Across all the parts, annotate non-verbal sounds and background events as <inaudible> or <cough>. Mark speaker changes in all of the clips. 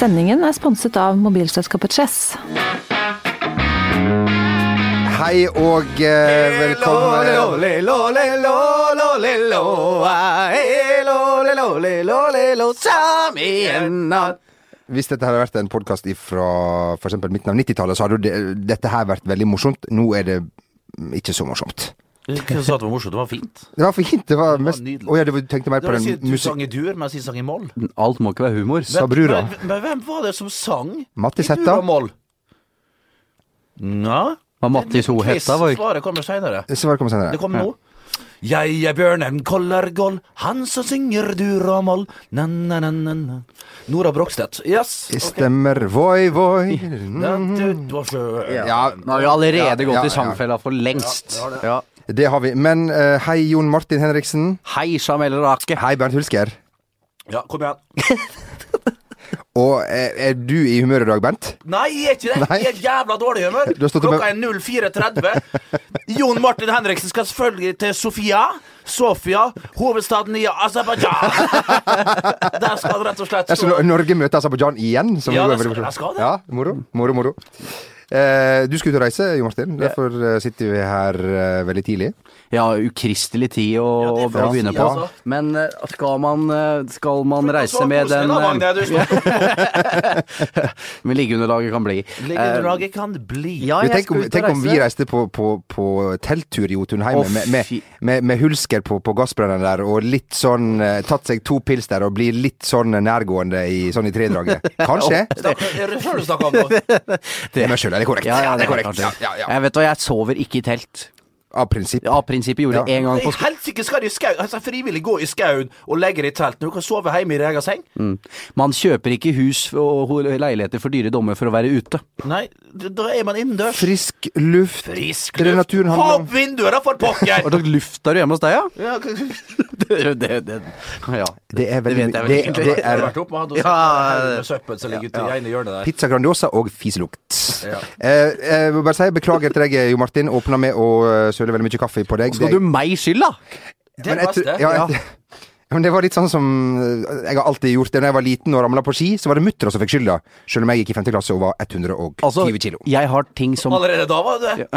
Speaker 1: Sendingen er sponset av mobilselskapet Chess.
Speaker 2: Hei og eh, velkommen
Speaker 3: Sam igjen natt
Speaker 2: Hvis dette hadde vært en podkast fra f.eks. midten av 90-tallet, så hadde jo det- dette her vært veldig morsomt. Nå er det mm, ikke så morsomt.
Speaker 3: Hvem sa at det var morsomt? Det var fint.
Speaker 2: Det var fint. Det var mest
Speaker 3: nydelig.
Speaker 2: Å ja, du tenkte mer
Speaker 3: Det
Speaker 2: på
Speaker 3: var å
Speaker 2: den
Speaker 3: si at du
Speaker 2: musikk...
Speaker 3: sang i dur, men jeg sier sang i moll.
Speaker 4: Alt må ikke være humor.
Speaker 2: Sa brura.
Speaker 3: Men, men hvem var det som sang
Speaker 2: Mattis
Speaker 3: i dur
Speaker 2: Hætta.
Speaker 3: og moll? Nja
Speaker 4: Men Mattis Ho
Speaker 3: Quiz,
Speaker 4: Hetta var jo ikke
Speaker 3: Svaret kommer seinere.
Speaker 2: Svaret kommer
Speaker 3: Det
Speaker 2: senere.
Speaker 3: kommer nå. Jeg er bjørnen Kollergoll, han som synger dur og moll. Na, na, na, na, na. Nora Brogstedt. Yes.
Speaker 2: Jeg Stemmer voi, voi
Speaker 3: Ja, du, du var så-
Speaker 2: Ja,
Speaker 4: Nå har vi allerede gått
Speaker 2: ja,
Speaker 4: i sangfella for lengst. Ja.
Speaker 2: det har vi. Men eh, hei, Jon Martin Henriksen.
Speaker 4: Hei, Jamel Rake.
Speaker 2: Hei, Bernt Hulsker.
Speaker 3: ja, kom igjen.
Speaker 2: Og eh, er du i humør i dag, Bernt?
Speaker 3: Nei, jeg er ikke det.
Speaker 2: Nei.
Speaker 3: Jeg er i jævla dårlig humør.
Speaker 2: Du har stått
Speaker 3: Klokka er 04.30. Jon Martin Henriksen skal selvfølgelig til Sofia. Sofia, hovedstaden i
Speaker 2: <laughs>
Speaker 3: Aserbajdsjan. Der skal han rett og slett
Speaker 2: Ja, så Nor- Altså, Norge møter Aserbajdsjan igjen? Som
Speaker 3: Ja,
Speaker 2: jo er
Speaker 3: det skal-
Speaker 2: veldig morsomt.
Speaker 3: jeg skal det.
Speaker 2: Ja, moro, moro, moro. Eh, du skal ut og reise, Jo Martin. Derfor eh, sitter vi her eh, veldig tidlig.
Speaker 4: Ja, ukristelig tid
Speaker 3: Ja,
Speaker 4: å, å
Speaker 3: det får jeg
Speaker 4: begynne
Speaker 3: si,
Speaker 4: på.
Speaker 3: altså.
Speaker 4: Men eh, skal man, eh, skal man reise med
Speaker 3: Så koselig
Speaker 4: den
Speaker 3: da, Magne,
Speaker 4: eh,
Speaker 3: du står
Speaker 4: <laughs>
Speaker 3: på
Speaker 4: Men liggeunderlaget kan bli.
Speaker 3: Liggeunderlaget kan bli
Speaker 4: Eh, ja,
Speaker 2: Du,
Speaker 4: jeg
Speaker 2: tenk,
Speaker 4: skal
Speaker 2: om,
Speaker 4: ut og
Speaker 2: tenk om vi
Speaker 4: reise.
Speaker 2: reiste på, på, på telttur i Jotunheimen
Speaker 4: Å,
Speaker 2: med, med,
Speaker 4: fy.
Speaker 2: med, med Hulsker på, på gassbrenneren der, og litt sånn eh, Tatt seg to pils der og blir litt sånn nærgående i, sånn i
Speaker 4: <laughs>
Speaker 2: tredraget. Kanskje?
Speaker 3: Er det selv du snakker om nå?
Speaker 4: Det-
Speaker 2: Men selv er det korrekt.
Speaker 4: Ja, ja, det er
Speaker 2: korrekt.
Speaker 4: klart
Speaker 2: Ja,
Speaker 4: det.
Speaker 2: ja, ja.
Speaker 4: Jeg vet hva, jeg sover ikke i telt.
Speaker 2: Av prinsipp.
Speaker 4: Av prinsippet gjorde jeg en gang på
Speaker 3: I Helsike skal de i skauen. Altså, frivillig gå i skauen og legge det i telt når du kan sove hjemme i din egen seng.
Speaker 4: skolen. Mm. Man kjøper ikke hus og og leiligheter for dyre dommer for å være ute.
Speaker 3: Nei, d- da er man innendørs.
Speaker 2: Frisk luft. Det
Speaker 3: Frisk
Speaker 2: er det
Speaker 3: luft.
Speaker 2: naturen
Speaker 3: Ha
Speaker 2: handler om.
Speaker 3: opp vinduet, da, for
Speaker 2: <laughs>
Speaker 3: pokker!
Speaker 4: Hva slags luft er du hjemme hos deg, ja?
Speaker 3: Ja, k-
Speaker 4: <laughs> Det, det, det, ja.
Speaker 2: Det er veldig
Speaker 4: vet jeg vel
Speaker 2: det,
Speaker 4: egentlig.
Speaker 2: det
Speaker 3: Det har
Speaker 2: er
Speaker 3: vært opp med han og sett
Speaker 4: Ja, ja, ja.
Speaker 3: med søppel som ligger ute i ene hjørnet der.
Speaker 2: Pizza Grandiosa og fiselukt.
Speaker 3: Ja.
Speaker 2: Eh, eh, jeg må bare si beklager til deg, Jo Martin. Åpna med å eh, søle veldig mye kaffe på deg.
Speaker 4: Skal du meg skylda?
Speaker 3: Det er
Speaker 2: jeg
Speaker 3: best,
Speaker 2: tror-
Speaker 3: det.
Speaker 2: ja, <laughs> jeg- Men det var litt sånn som eh, jeg har alltid gjort det. Når jeg var liten og ramla på ski, så var det muttera som fikk skylda. Selv om jeg gikk i 5. klasse og var 120
Speaker 4: Altså,
Speaker 2: kilo.
Speaker 4: jeg har ting som
Speaker 3: Allerede Altså, da var det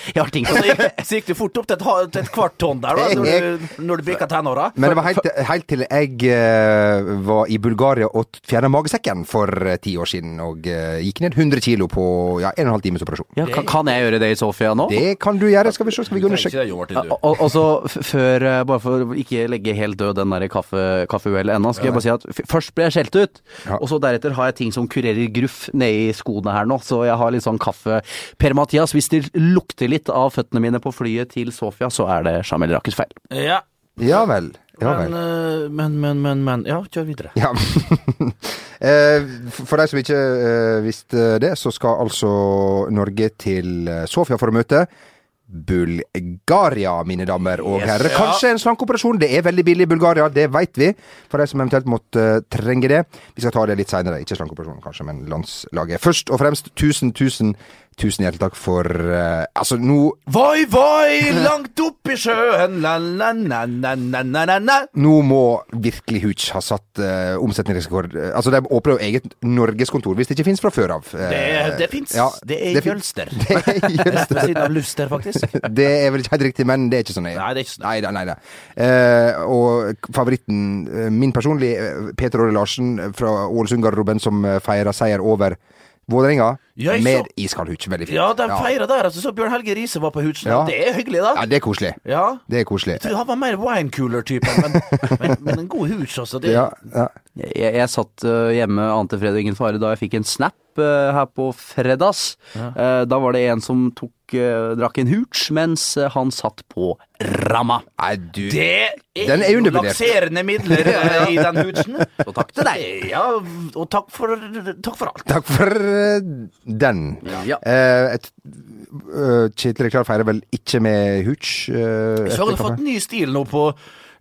Speaker 4: <laughs> Jeg har ting
Speaker 3: Så
Speaker 4: som
Speaker 3: gikk- Så gikk det fort opp til et, ha- til et kvart tonn der, da, når du, når du bikka tenåra.
Speaker 2: Men det var helt, helt til jeg eh, var i Bulgaria og fjerna magesekken for eh, ti år siden og eh, gikk ned 100 kilo på ja, 1 12 times operasjon.
Speaker 4: <laughs> ja, kan, kan jeg gjøre det i Sofia nå?
Speaker 2: Det kan du gjøre. Skal vi se, skal vi gå
Speaker 3: Nei,
Speaker 2: under
Speaker 3: ikke det, Jo Martin, du.
Speaker 4: Og, og- og så f- før, eh, bare for å ikke legge helt død den der kaffe, kaffeuhellet ennå, skal jeg bare si at f- først ble jeg skjelt ut,
Speaker 2: Ja.
Speaker 4: og så deretter har jeg ting som kurerer gruff nedi skoene her nå, så jeg har litt sånn kaffe. Per Mathias, hvis det lukter litt av føttene mine på flyet til Sofia, så er det Jamel Rakers feil.
Speaker 3: Ja.
Speaker 2: Ja vel. Ja vel.
Speaker 3: Men, eh, men, men, men, men Ja, kjør videre.
Speaker 2: Ja. <laughs> Eh, for de som ikke eh, visste det, så skal altså Norge til eh, Sofia for å møte Bulgaria, mine damer og
Speaker 3: Yes.
Speaker 2: herrer. Kanskje en slankeoperasjon. Det er veldig billig i Bulgaria, det veit vi. For de som eventuelt måtte eh, trenge det. Vi skal ta det litt seinere. Ikke slankeoperasjonen, kanskje, men landslaget. Først og fremst, tusen, tusen, tusen hjertelig takk for eh, Altså, nå
Speaker 3: Voi, voi, langt opp i sjøen, la-la-la-la-la-la-la.
Speaker 2: nå må virkelig Hooch ha satt eh, omsetningsrekord. Eh, Altså, de åpner jo eget norgeskontor, hvis det ikke fins fra før av. Eh,
Speaker 3: Det, det fins.
Speaker 2: ja,
Speaker 3: det er i
Speaker 2: fin-
Speaker 3: Jølster.
Speaker 2: <laughs> Det er
Speaker 3: <laughs>
Speaker 2: i Jølster.
Speaker 3: Rett ved siden av Luster, faktisk.
Speaker 2: Det er vel ikke helt riktig, men det er ikke sånn jeg
Speaker 3: Nei, det er ikke sånn.
Speaker 2: Nei da, nei da. Eh, og favoritten eh, min personlig, eh, Peter Åre Larsen fra Ålesund-garderoben, som eh, feira seier over Vålerenga
Speaker 3: Ja, jeg så-
Speaker 2: med iskald hud. Veldig fint.
Speaker 3: Ja, de
Speaker 2: ja.
Speaker 3: feira der, altså. Så Bjørn Helge Riise var på Hutsen.
Speaker 2: Ja.
Speaker 3: Det er hyggelig, da.
Speaker 2: ja, det er koselig.
Speaker 3: Ja.
Speaker 2: Det er koselig.
Speaker 3: Du, Han var mer winecooler-typen, men, men, men en god hus, altså. Det,
Speaker 2: Ja, ja.
Speaker 4: Jeg, jeg satt eh, hjemme ante fred og ingen fare da jeg fikk en snap eh, her på fredags. Eh, da var det en som tok, eh, drakk en hooch mens eh, han satt på ramma.
Speaker 2: Nei, du
Speaker 3: det er,
Speaker 2: Den er
Speaker 3: jo
Speaker 2: undervurdert.
Speaker 3: lakserende
Speaker 2: <laughs>
Speaker 3: midler eh, i den hudsen.
Speaker 4: Og takk til deg.
Speaker 3: Ja, og takk for, takk for alt.
Speaker 2: Takk for eh, den.
Speaker 4: Ja.
Speaker 2: Eh, et, eh, Kjetil Reklar feirer vel ikke med Hooch? eh,
Speaker 3: Så har
Speaker 2: etter
Speaker 3: du fått
Speaker 2: kampen?
Speaker 3: ny stil nå på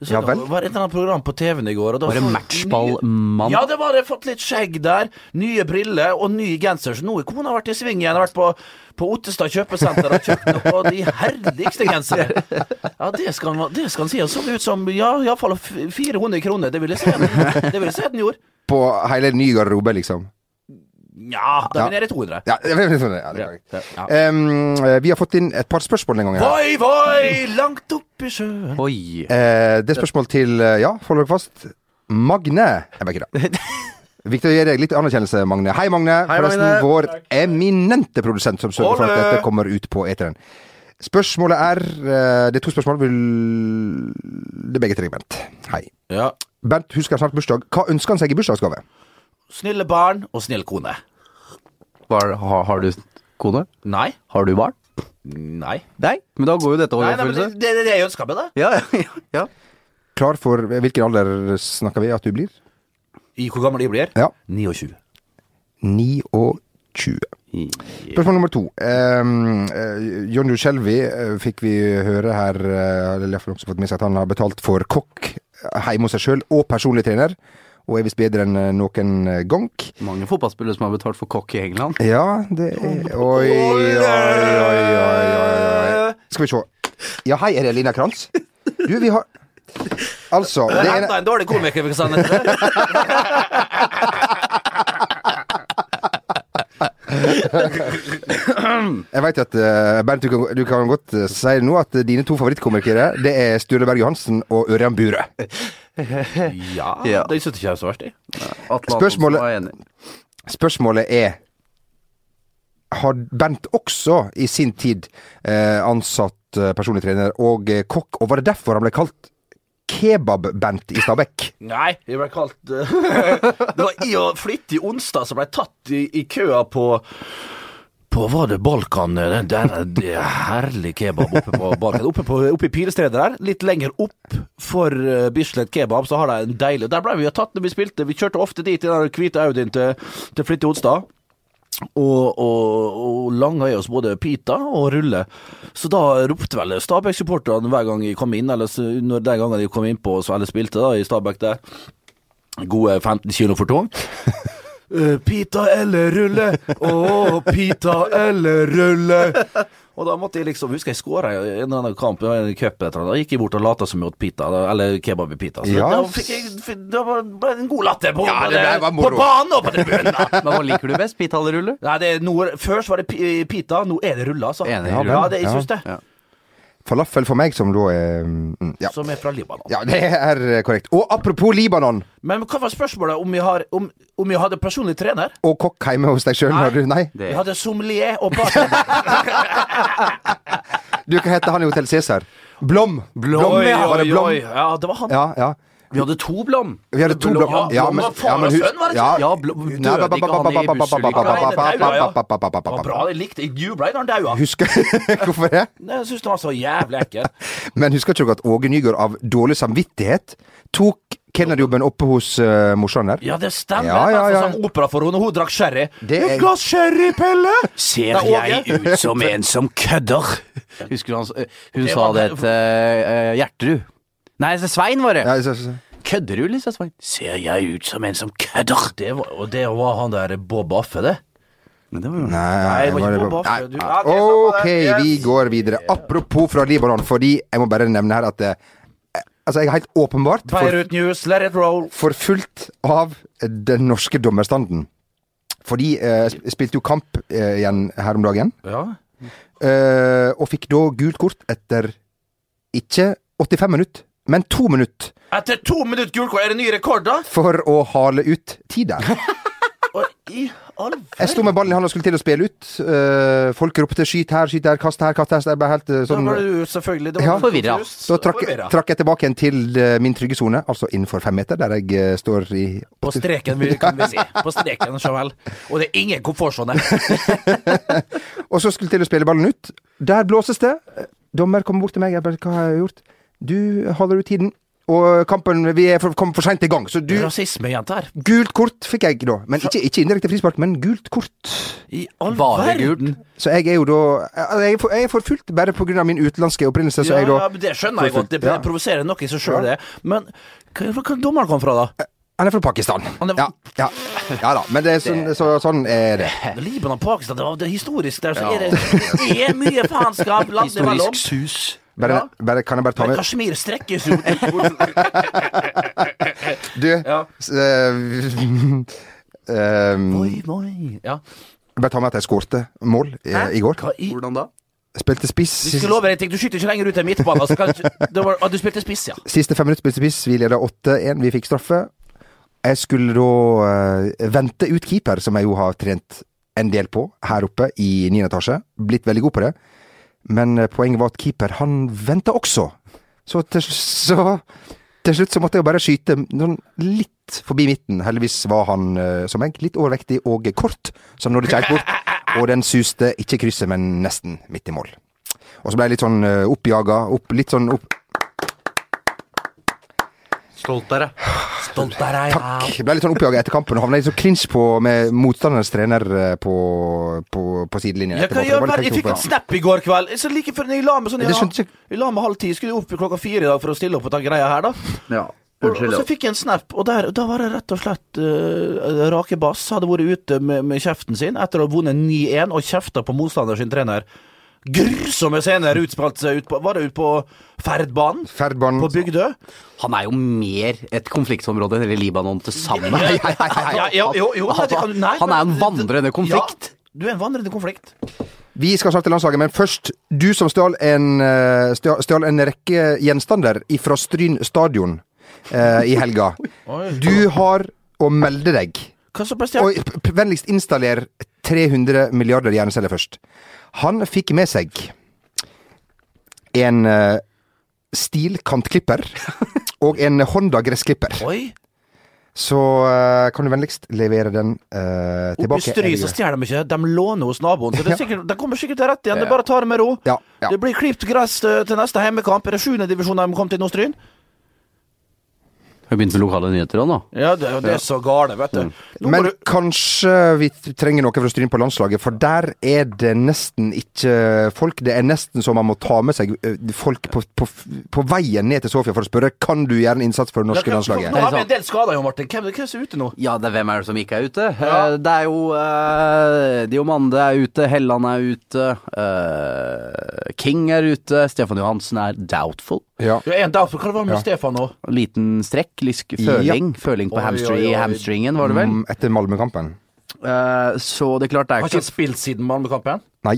Speaker 3: så
Speaker 2: Ja
Speaker 3: det
Speaker 2: vel.
Speaker 3: var et eller annet program på TV-en i går. og da
Speaker 4: Var det
Speaker 3: så-
Speaker 4: matchballmann?
Speaker 3: Ja, det var det. Fått litt skjegg der. Nye briller og ny genser. Så nå har kona vært i sving igjen. Har vært på, på Ottestad kjøpesenter og kjøpt noe på de herligste gensere. Ja, det skal han det skal han si. Han så ut som ja, iallfall 400 kroner. Det vil jeg si han- det vil jeg si at han gjorde.
Speaker 2: På på hele ny garderobe, liksom.
Speaker 3: Nja, da
Speaker 2: Ja.
Speaker 3: er vi nede i 200.
Speaker 2: Ja, det er sånn, ja, det er korrekt.
Speaker 3: Ja.
Speaker 2: Em, eh, vi har fått inn et par spørsmål denne gangen. her.
Speaker 3: Voi, voi, langt opp i sjøen.
Speaker 4: Oi.
Speaker 2: Eh, det er spørsmål til eh, Ja, hold dere fast. Magne Jeg bare
Speaker 5: <laughs>
Speaker 2: kødder. Viktig å gi deg litt anerkjennelse, Magne. Hei, Magne.
Speaker 5: Hei,
Speaker 2: Forresten
Speaker 5: Magne.
Speaker 2: vår eminente produsent som sørger for at
Speaker 3: Ole.
Speaker 2: dette kommer ut på eteren. Spørsmålet er eh, Det er to spørsmål. Vil... Det er begge til deg, Bent. Hei.
Speaker 3: Ja.
Speaker 2: Bent husker snart bursdag. Hva ønsker han seg i bursdagsgave?
Speaker 3: Snille barn og snill kone.
Speaker 4: Hva- har, har du kone?
Speaker 3: Nei.
Speaker 4: Har du barn?
Speaker 3: Nei.
Speaker 4: Nei. Men da går jo dette
Speaker 3: Nei,
Speaker 4: over i
Speaker 3: nei men det,
Speaker 4: oppfyllelse.
Speaker 3: det er det jeg ønsker meg, da.
Speaker 4: Ja, <laughs> ja, ja.
Speaker 2: Klar for Hvilken alder snakker vi at du blir?
Speaker 3: I hvor gammel de blir?
Speaker 2: Ja.
Speaker 3: 29.
Speaker 2: 29. Spørsmål nummer to. Um, uh, John U. Shelby eh, fikk vi høre her eh, Eller jeg har også fått med seg at han har betalt for kokk eh, hjemme hos seg sjøl, og personlig trener. Og er visst bedre enn eh, noen eh, gang.
Speaker 4: Mange fotballspillere som har betalt for kokk i England.
Speaker 2: Ja, det er Oi, oi, oi, oi, oi. Skal vi se. Ja, hei, er det Lina Kranz? Du, vi har Altså, det
Speaker 3: Det er
Speaker 2: ene
Speaker 3: enda en dårlig komiker, for eksempel. Det
Speaker 2: Jeg vet at, eh, Bernt, du kan, du kan godt eh, si nå at eh, dine to favorittkomikere Det er Sture Berg Johansen og Ørjan Bure.
Speaker 3: Ja,
Speaker 4: Ja.
Speaker 3: det syns ikke jeg er så verst, jeg.
Speaker 4: Atle
Speaker 2: Spørsmålet-
Speaker 4: Antonsen var enig.
Speaker 2: Spørsmålet er Har Bent også i sin tid eh, ansatt eh, personlig trener og eh, kokk, og var det derfor han ble kalt Kebab-Bent i Stabekk?
Speaker 3: Nei, jeg ble kalt <laughs> eh, Det var i og flittig onsdag som ble tatt i, i køa på på var det Balkan eh, Den der eh, det er herlig kebab oppe på Balkan. Oppe, på, oppe i Pilestredet der. Litt lenger opp for eh, Bislett kebab, så har de en deilig Der ble vi jo tatt når vi spilte. Vi kjørte ofte dit i den hvite Audien til, til Flittig onsdag. Og, og, og langa i oss både pita og rulle. Så da ropte vel Stabæk-supporterne hver gang jeg kom inn, eller s- når den gangen jeg kom inn på eller spilte da i Stabæk der, gode 15 kilo for
Speaker 2: <laughs>
Speaker 3: tung. Eh, pita eller rulle? Å, pita eller rulle? Og da måtte jeg liksom Husker jeg skåra i en eller annen kamp, i en cup eller et eller annet. Da gikk jeg bort og lata som jeg åt pita, da- eller kebab i pita. Så
Speaker 2: Ja.
Speaker 3: da fikk jeg fikk- Da var det en god latter på,
Speaker 2: Ja, det ble- var
Speaker 3: på
Speaker 2: moro.
Speaker 3: banen og på tribunen. da.
Speaker 4: Men hva liker du best? Pitaleruller?
Speaker 3: Nei, det er noe, Først var det pi- pita, nå er det rulla, altså.
Speaker 4: Enig,
Speaker 3: ja,
Speaker 4: rulla.
Speaker 3: det, jeg
Speaker 2: Ja.
Speaker 3: syns det.
Speaker 4: Ja.
Speaker 2: Falafel for meg, som da er mm, ja.
Speaker 3: Som er fra Libanon.
Speaker 2: ja, det er eh, korrekt. Og apropos Libanon
Speaker 3: Men hva var spørsmålet om jeg, har, om, om jeg hadde personlig trener?
Speaker 2: og kokk hjemme hos deg sjøl
Speaker 3: Nei.
Speaker 2: når du Nei.
Speaker 4: Det.
Speaker 3: Jeg hadde sommelier og bartender.
Speaker 4: <laughs>
Speaker 2: Du, hva heter han i Hotell Cæsar? Blom!
Speaker 3: Oi,
Speaker 2: ja, var det
Speaker 3: oi,
Speaker 2: Blom?
Speaker 3: oi. Ja, det var han.
Speaker 2: Ja, ja.
Speaker 4: Vi hadde to blom.
Speaker 2: Vi hadde to
Speaker 4: Blom-
Speaker 2: blom. Ja,
Speaker 4: Ja, blom
Speaker 2: men-
Speaker 4: var
Speaker 2: ja, men
Speaker 4: far og
Speaker 2: hus-
Speaker 4: sønn, var det
Speaker 2: ja.
Speaker 4: ikke? Ja, blom, døde ikke han i
Speaker 3: Nei, det
Speaker 4: bussulykka?
Speaker 3: daua, ja.
Speaker 2: Det
Speaker 3: Det var bra, jeg likte Jeg jubla da han daua.
Speaker 2: Husker <laughs> Hvorfor det?
Speaker 3: Nei, Jeg syns det var så jævlig ekkelt.
Speaker 2: Men husker ikke dere at Åge Nygaard av dårlig samvittighet tok kenneljobben oppe hos eh, morsan der?
Speaker 3: Ja, det stemmer.
Speaker 2: Ja, ja, ja.
Speaker 3: Det var sånn opera for henne. Hun drakk sherry.
Speaker 2: Det er-
Speaker 3: Et glass sherry, Pelle!
Speaker 4: Ser
Speaker 3: Nei, Åge.
Speaker 4: jeg ut som en som kødder? Husker du han, s- eh, hun
Speaker 3: Det
Speaker 4: sa
Speaker 3: var-
Speaker 4: det til eh, Gjertrud. Nei, så Svein var det.
Speaker 2: Ja, så, så.
Speaker 4: Kødder du, Lisa Svein? Ser jeg ut som en som kødder?
Speaker 3: Det var, og det var han der Bob Affe, det.
Speaker 4: Men det var jo
Speaker 2: Nei,
Speaker 3: Nei, det var
Speaker 2: var
Speaker 3: ikke
Speaker 2: det-
Speaker 3: på Bafø, du.
Speaker 2: Nei.
Speaker 3: Ja, det er samme
Speaker 2: Ok,
Speaker 3: det.
Speaker 2: vi
Speaker 3: Yes.
Speaker 2: går videre. Apropos fra Libanon, fordi jeg må bare nevne her at eh, Altså, jeg er helt åpenbart for,
Speaker 3: Beirut News, let it roll.
Speaker 2: forfulgt av den norske dommerstanden. Fordi eh, sp- spilte jo kamp eh, igjen her om dagen,
Speaker 3: Ja.
Speaker 2: eh, og fikk da gult kort etter ikke 85 minutter, men to minutter
Speaker 3: Etter to minutter gult kort, er det ny rekord, da?
Speaker 2: for å hale ut tid der.
Speaker 3: Og i all
Speaker 2: Jeg sto med ballen i handa og skulle til å spille ut. Eh, folk ropte 'skyt her, skyt der, kast her, kast her'. Så jeg ble helt eh,
Speaker 3: Da var
Speaker 2: sånn
Speaker 3: du selvfølgelig det
Speaker 2: Ja.
Speaker 3: var
Speaker 4: Forvirra.
Speaker 2: Så trakk, trakk jeg tilbake igjen til eh, min trygge sone, altså innenfor fem meter, der jeg eh, står i
Speaker 3: På streken, vil- kan vi si. På streken, så vel. Og det er ingen komfortsone.
Speaker 2: Og så skulle jeg til å spille ballen ut. Der blåses det. Eh, Dommer kommer bort til meg. Jeg bare 'Hva har jeg gjort?' Du holder ut tiden. Og kampen Vi er for, kom for seint i gang, så du
Speaker 3: Rasisme, jenter. her.
Speaker 2: Gult kort fikk jeg da. Men ikke, ikke indirekte frispark, men gult kort.
Speaker 3: I all
Speaker 4: bare
Speaker 3: verden.
Speaker 4: gult.
Speaker 2: Så jeg er jo da altså, Jeg er for- jeg er forfulgt bare pga. min utenlandske opprinnelse, så
Speaker 3: Ja,
Speaker 2: jeg da
Speaker 3: ja, men det skjønner jeg godt. Det
Speaker 2: Ja.
Speaker 3: provoserer nok i seg sjøl, det. Men hva hvor kom dommeren kom fra, da?
Speaker 2: Han er fra Pakistan.
Speaker 3: Han er-
Speaker 2: Ja, ja, ja da, men det er sånn, så, sånn er det.
Speaker 3: Libanon og Pakistan, det var- det er historisk der, så er det, det er mye
Speaker 2: <laughs>
Speaker 3: faenskap landet imellom.
Speaker 4: Historisk sus.
Speaker 2: Bare, bare, kan jeg bare ta
Speaker 3: Men
Speaker 2: med
Speaker 3: Kashmir strekkes jo.
Speaker 2: Du
Speaker 3: <laughs> Ja.
Speaker 2: s- eh, <laughs> ehm,
Speaker 3: Oi, oi. Ja.
Speaker 2: Bare ta med at jeg skårte mål eh, i går.
Speaker 3: Hva i
Speaker 4: Hvordan da?
Speaker 2: Spilte spiss.
Speaker 3: Du skal love deg en ting, du skyter ikke lenger ut enn midtbanen. Altså, kan ikke- det var, ah, du spilte spiss, ja.
Speaker 2: Siste fem minutter spilte spiss, vi leda 8-1, vi fikk straffe. Jeg skulle da eh, vente ut keeper, som jeg jo har trent en del på her oppe i 9. etasje. Blitt veldig god på det. Men eh, poenget var at keeper, han venta også. Så til, så til slutt så måtte jeg jo bare skyte sånn litt forbi midten. Heldigvis var han, eh, som jeg, litt overvektig og kort, så han nådde ikke helt bort. Og den suste ikke i krysset, men nesten midt i mål. Og så ble jeg litt sånn eh, oppjaga, opp, litt sånn opp
Speaker 4: Stolt dere.
Speaker 3: Stolt av deg.
Speaker 2: Takk. Jeg ble litt sånn oppjaga etter kampen og havna i sånn clinch på, med motstanderens trener eh, på, på, på sidelinjen.
Speaker 3: Ja,
Speaker 2: etterpå,
Speaker 3: hva
Speaker 2: for det
Speaker 3: gjør
Speaker 2: var litt
Speaker 3: verden? Jeg fikk
Speaker 2: tenkt
Speaker 3: en snap i går kveld. Så like før jeg la meg sånn
Speaker 2: Ja, det skjønte
Speaker 3: jeg,
Speaker 2: ikke-
Speaker 3: jeg la meg halv ti. Skulle opp klokka fire i dag for å stille opp på den greia her, da.
Speaker 4: Ja,
Speaker 3: Og, og
Speaker 4: unnskyld.
Speaker 3: så fikk jeg en snap, og der, da var det rett og slett eh, Rake Bass hadde vært ute med, med kjeften sin etter å ha vunnet 9-1 og kjefta på motstanders trener. Grusomme scener utspalt seg ut på Var det ute på Ferdbanen?
Speaker 2: på. Ferdbanen
Speaker 3: På Bygdø?
Speaker 4: Han er jo mer et konfliktområde enn hele Libanon til sammen.
Speaker 3: Nei, nei, nei, nei. Ja, jo, jo, jo,
Speaker 4: han,
Speaker 3: det kan du- nei,
Speaker 4: han er en
Speaker 3: men-
Speaker 4: vandrende konflikt.
Speaker 3: Ja, du er en vandrende konflikt.
Speaker 2: Vi skal snart til landslaget, men først Du som stjal en, eh, stjal stjal en rekke gjenstander ifra Stryn stadion eh, i helga.
Speaker 3: <laughs>
Speaker 2: Du har å melde deg.
Speaker 3: Hva som ble
Speaker 2: Og
Speaker 3: stjålet?
Speaker 2: p- p- vennligst installer 300 milliarder hjerneceller først. Han fikk med seg en eh,
Speaker 3: <laughs>
Speaker 2: stilkantklipper og en Honda-gressklipper.
Speaker 3: Oi!
Speaker 2: Så eh, kan du vennligst levere den eh,
Speaker 3: Oppe i
Speaker 2: tilbake.
Speaker 3: Stry så stjeler de ikke, de låner hos naboen. Så det, er sikkert, de kommer sikkert til rett igjen. Det er bare å ta det med ro.
Speaker 2: Ja, ja.
Speaker 3: Det blir klipt gress eh, til neste heimekamp. Er det sjuende divisjon de kom til nå, Stryn?
Speaker 4: Har begynt med lokale nyheter òg nå.
Speaker 3: Ja, det, det er så gale, vet du. Nå må
Speaker 2: Men
Speaker 3: du
Speaker 2: kanskje vi t- trenger noe for å stryne på landslaget, for der er det nesten ikke folk. Det er nesten så man må ta med seg eh, folk på, på, på veien ned til Sofia for å spørre kan du gjøre en innsats for det norske
Speaker 3: Ja, hva- Nå
Speaker 2: landslaget.
Speaker 3: har vi en del skader, jo, Martin. Hvem, hvem er det som er ute nå?
Speaker 4: Ja, det er hvem er det som ikke er ute?
Speaker 3: Ja.
Speaker 4: Eh, Det er jo eh, Diomande er ute, Helland er ute, eh, King er ute, Stefan Johansen er doubtful.
Speaker 2: Ja.
Speaker 3: Ja, en dag, for hva var det med Stefan nå?
Speaker 4: Liten strekk, lysk, føling, føling på
Speaker 3: Oi,
Speaker 4: hamstring,
Speaker 3: oi, oi.
Speaker 4: hamstringen, var det vel?
Speaker 2: Mm, Etter Malmö-kampen.
Speaker 4: Eh, så det er klart det er
Speaker 3: Har
Speaker 4: ikke
Speaker 3: ikke han spilt siden Malmö-kampen?
Speaker 2: Nei.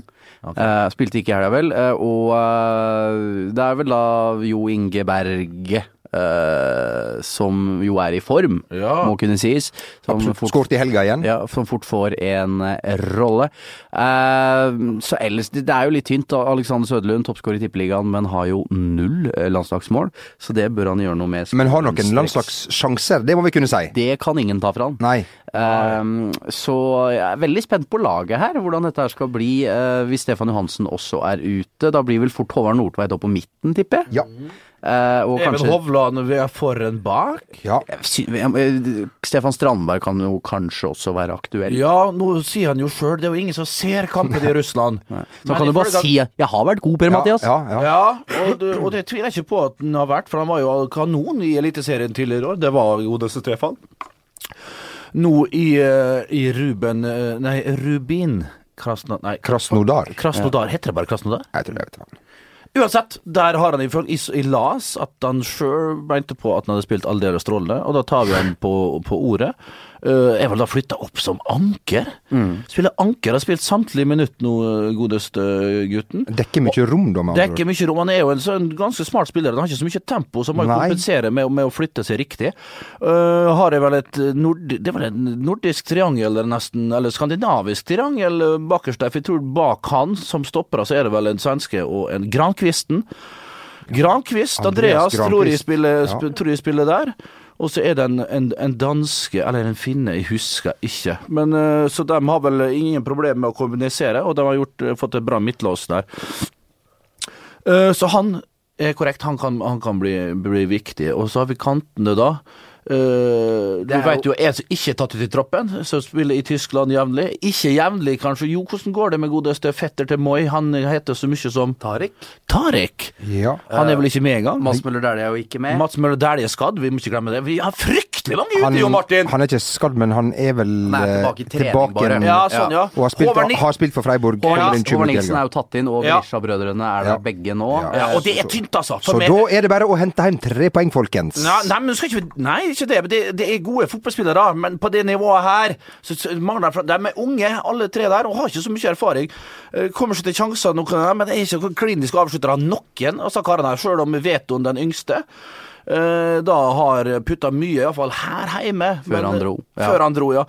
Speaker 4: Eh, spilte ikke i helga, vel. eh, og eh, det er vel da Jo Inge Berge eh, som jo er i form,
Speaker 3: Ja.
Speaker 4: må kunne sies. Som fort,
Speaker 2: Skåret i helga igjen.
Speaker 4: ja, som fort får en eh, rolle. Eh, så ellers Det det er jo litt tynt. da. Alexander Søderlund, toppskårer i Tippeligaen, men har jo null eh, landslagsmål. Så det bør han gjøre noe med.
Speaker 2: Men har noen landslagssjanser, det må vi kunne si.
Speaker 4: Det kan ingen ta fra han.
Speaker 2: Nei.
Speaker 4: Ehm, så jeg er veldig spent på laget her, hvordan dette her skal bli eh, hvis Stefan Johansen også er ute. Da blir vel fort Håvard Nordtveit opp på midten, tipper jeg.
Speaker 2: Ja.
Speaker 4: Eh, og
Speaker 3: Even
Speaker 4: kanskje
Speaker 3: Hovland vi er foran bak?
Speaker 2: ja.
Speaker 4: Jeg sy- jeg- Stefan Strandberg kan jo kanskje også være aktuell.
Speaker 3: Ja, nå sier han jo sjøl, det er jo ingen som ser kampen i Russland.
Speaker 4: Så kan du bare si at 'jeg har vært god, Per Mathias'.
Speaker 2: Ja, ja, ja.
Speaker 3: Ja, og det, og det tviler jeg ikke på at han har vært, for han var jo kanon i Eliteserien tidligere i år. Det var godeste Stefan. Nå i, eh, i Ruben eh, Nei, Rubin Krasno, Nei,
Speaker 2: Krasnodar.
Speaker 3: Krasnodar. Heter det bare Krasnodar?
Speaker 2: Jeg tror det vet jeg.
Speaker 3: Uansett, der har han ifølge i, i LAS at han sjøl mente på at han hadde spilt aldeles strålende, og da tar vi han på, på ordet. Eh, er vel da flytta opp som anker? Spiller anker, har spilt samtlige minutt nå, eh, godeste gutten.
Speaker 2: Dekker mye rom, da, med
Speaker 3: Det er
Speaker 2: andre ord.
Speaker 3: ikke mye rom. Han er jo en, sånn ganske smart spiller. Han har ikke så mye tempo, så han må jo
Speaker 2: Nei.
Speaker 3: kompensere med, å- med å flytte seg riktig. Eh, har jeg vel et nord, Det er vel en nordisk triangel, eller nesten, eller skandinavisk triangel eh, bakerst der. For jeg tror bak han som stopper, så er det vel en svenske og en Grankvisten. Grankvist,
Speaker 2: Andreas
Speaker 3: Andreas, tror, jeg
Speaker 2: Grankvist.
Speaker 3: spiller,
Speaker 2: Ja.
Speaker 3: sp tror jeg spiller der. Og så er det en, en, en danske, eller en finne, jeg husker ikke. Men, eh, så de har vel ingen problemer med å kommunisere, og de har gjort, eh, fått et bra midtlås der. Eh, Så han er korrekt, han kan, han kan bli, bli viktig. Og så har vi kantene, da. Eh, du
Speaker 4: er jo-
Speaker 3: vet jo en som ikke er tatt ut i troppen, som spiller i Tyskland jevnlig. Ikke jevnlig, kanskje. Jo, hvordan går det med godeste fetter til Moi? Han heter så mye som
Speaker 4: Tariq.
Speaker 3: Tarek.
Speaker 2: Ja.
Speaker 3: Han er vel ikke med engang?
Speaker 4: Mads Møller Dæhlie er jo ikke med.
Speaker 3: Mats Møller Dæhlie er skadd, vi må ikke glemme det. Vi har frykt fryktelig mange ute, jo, Martin!
Speaker 2: han er ikke skadd, men han er vel
Speaker 4: Han er tilbake
Speaker 2: eh,
Speaker 4: i trening
Speaker 2: tilbake
Speaker 4: bare.
Speaker 2: igjen.
Speaker 3: ja, sånn, ja.
Speaker 2: Og har spilt,
Speaker 3: Håvard Ni-
Speaker 2: har spilt for Freiburg.
Speaker 4: Håvard
Speaker 2: kommer inn
Speaker 4: Nilsen-
Speaker 2: 20
Speaker 4: Håvard
Speaker 2: til
Speaker 4: Nilsen
Speaker 2: helga.
Speaker 4: er jo tatt inn, og
Speaker 3: Ja.
Speaker 4: Berisha-brødrene er
Speaker 2: Ja.
Speaker 4: der begge nå.
Speaker 2: Ja.
Speaker 3: ja, og det er tynt, altså.
Speaker 2: Så
Speaker 3: For meg-
Speaker 2: da er det bare å hente hjem tre poeng, folkens.
Speaker 3: Nei, nei, men du skal ikke, nei, ikke det. men Det, det er gode fotballspillere, men på det nivået her så, så mangler de fra- De er unge, alle tre der, og har ikke så mye erfaring. Eh, Kommer ikke til sjanser, noen av dem, men er ikke kliniske avsluttere, noen av disse karene her, sjøl om Veton, den yngste, eh, da har putta mye, iallfall her hjemme.
Speaker 4: Før han dro, ja.
Speaker 3: Ja. Før han dro, ja.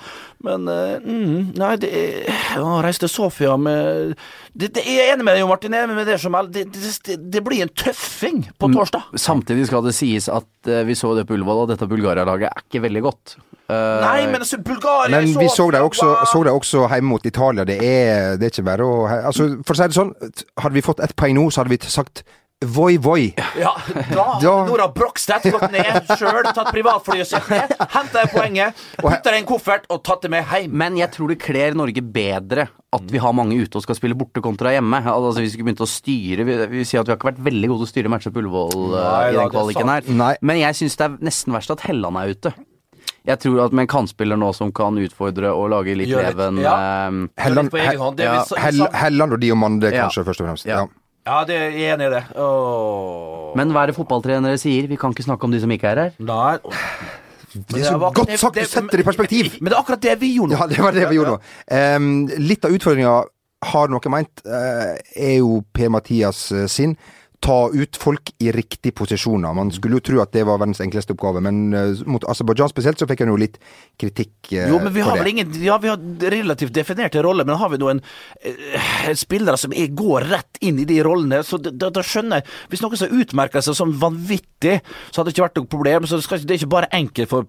Speaker 3: Men eh, mm, Nei, det er Å reise til Sofia med det, det, Jeg er enig med deg, Jo Martin. Jeg er enig med det, som, er- det, det, det blir en tøffing på
Speaker 4: Mm.
Speaker 3: torsdag.
Speaker 4: Samtidig skal det sies at eh, vi så det på Ullevål, og dette Bulgaria-laget er ikke veldig godt. Eh,
Speaker 3: Nei, men altså, Bulgaria
Speaker 2: Men
Speaker 3: i
Speaker 2: vi så det også,
Speaker 3: Wow.
Speaker 2: så det også hjemme mot Italia. Det er, det er ikke bare å altså, For å si det sånn, hadde vi fått ett poeng nå, så hadde vi sagt voi, voi.
Speaker 3: Ja,
Speaker 2: <laughs>
Speaker 3: da
Speaker 2: Da-
Speaker 3: hadde Nora Brokstedt gått ned sjøl, tatt privatflyet sitt ned, henta poenget, putta det i en koffert og tatt det med hjem.
Speaker 4: Men jeg tror det kler Norge bedre at vi har mange ute og skal spille borte kontra hjemme. Altså Hvis vi skulle begynt å styre Vi, vi sier at vi har ikke vært veldig gode til å styre matcher på Ullevål
Speaker 3: Nei,
Speaker 4: eh, i
Speaker 3: da,
Speaker 4: den
Speaker 3: det er
Speaker 4: kvaliken her.
Speaker 2: sant. Nei.
Speaker 4: Men jeg syns det er nesten verst at Helland er ute. Jeg tror at med en kantspiller nå som kan utfordre og lage litt
Speaker 3: Gjør litt,
Speaker 4: leven
Speaker 3: ja.
Speaker 4: eh,
Speaker 2: Helland,
Speaker 3: På egen hånd, det er
Speaker 2: ja,
Speaker 3: vi så-
Speaker 2: Hell- Helland og Diomande,
Speaker 4: Ja.
Speaker 2: kanskje, først og fremst.
Speaker 4: Ja.
Speaker 2: Ja.
Speaker 3: Ja, det er jeg enig i det. Åh.
Speaker 4: Men hva er det fotballtrenere sier? Vi kan ikke snakke om de som ikke er her.
Speaker 3: Nei.
Speaker 2: Det er så godt sagt! Du setter det i perspektiv!
Speaker 3: <laughs> Men det er akkurat det vi gjorde
Speaker 2: Ja,
Speaker 3: nå.
Speaker 2: det var det vi gjorde nå. Em, litt av utfordringa har noe meint, eh, er jo Per-Mathias eh, sin. Ta ut folk i riktige posisjoner. Man skulle jo tro at det var verdens enkleste oppgave, men eh, mot Aserbajdsjan spesielt så fikk han jo litt kritikk eh,
Speaker 3: Jo, men vi
Speaker 2: for
Speaker 3: har vel
Speaker 2: det.
Speaker 3: ingen Ja, vi har relativt definerte roller, men har vi noen eh, spillere som er, går rett inn i de rollene, så da- da da skjønner jeg Hvis noen som utmerker seg som vanvittig, så hadde det ikke vært noe problem. Så det, skal, ikke- det er ikke bare enkelt for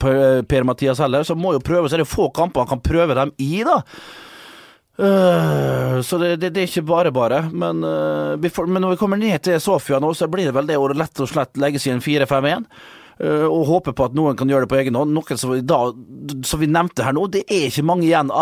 Speaker 3: Per-Mathias heller, så må jo prøve. Så er det få kamper han kan prøve dem i, da. Øh, så det, det, det er ikke bare bare. Men, øh, vi får, men når vi kommer ned til Sofia nå, så blir det vel det å lett og slett legge seg i en 4-5-1. øh, og håpe på at noen kan gjøre det på egen hånd. Noen som, vi da, som vi nevnte her nå, det er ikke mange igjen av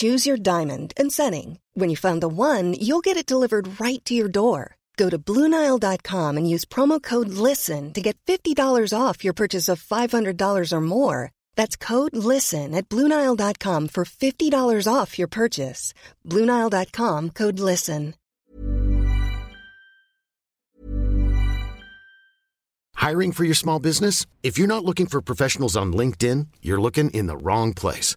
Speaker 6: Choose your diamond and setting. When you find the one, you'll get it delivered right to your door. Go to Bluenile.com and use promo code LISTEN to get $50 off your purchase of $500 or more. That's code LISTEN at Bluenile.com for $50 off your purchase. Bluenile.com code LISTEN.
Speaker 7: Hiring for your small business? If you're not looking for professionals on LinkedIn, you're looking in the wrong place.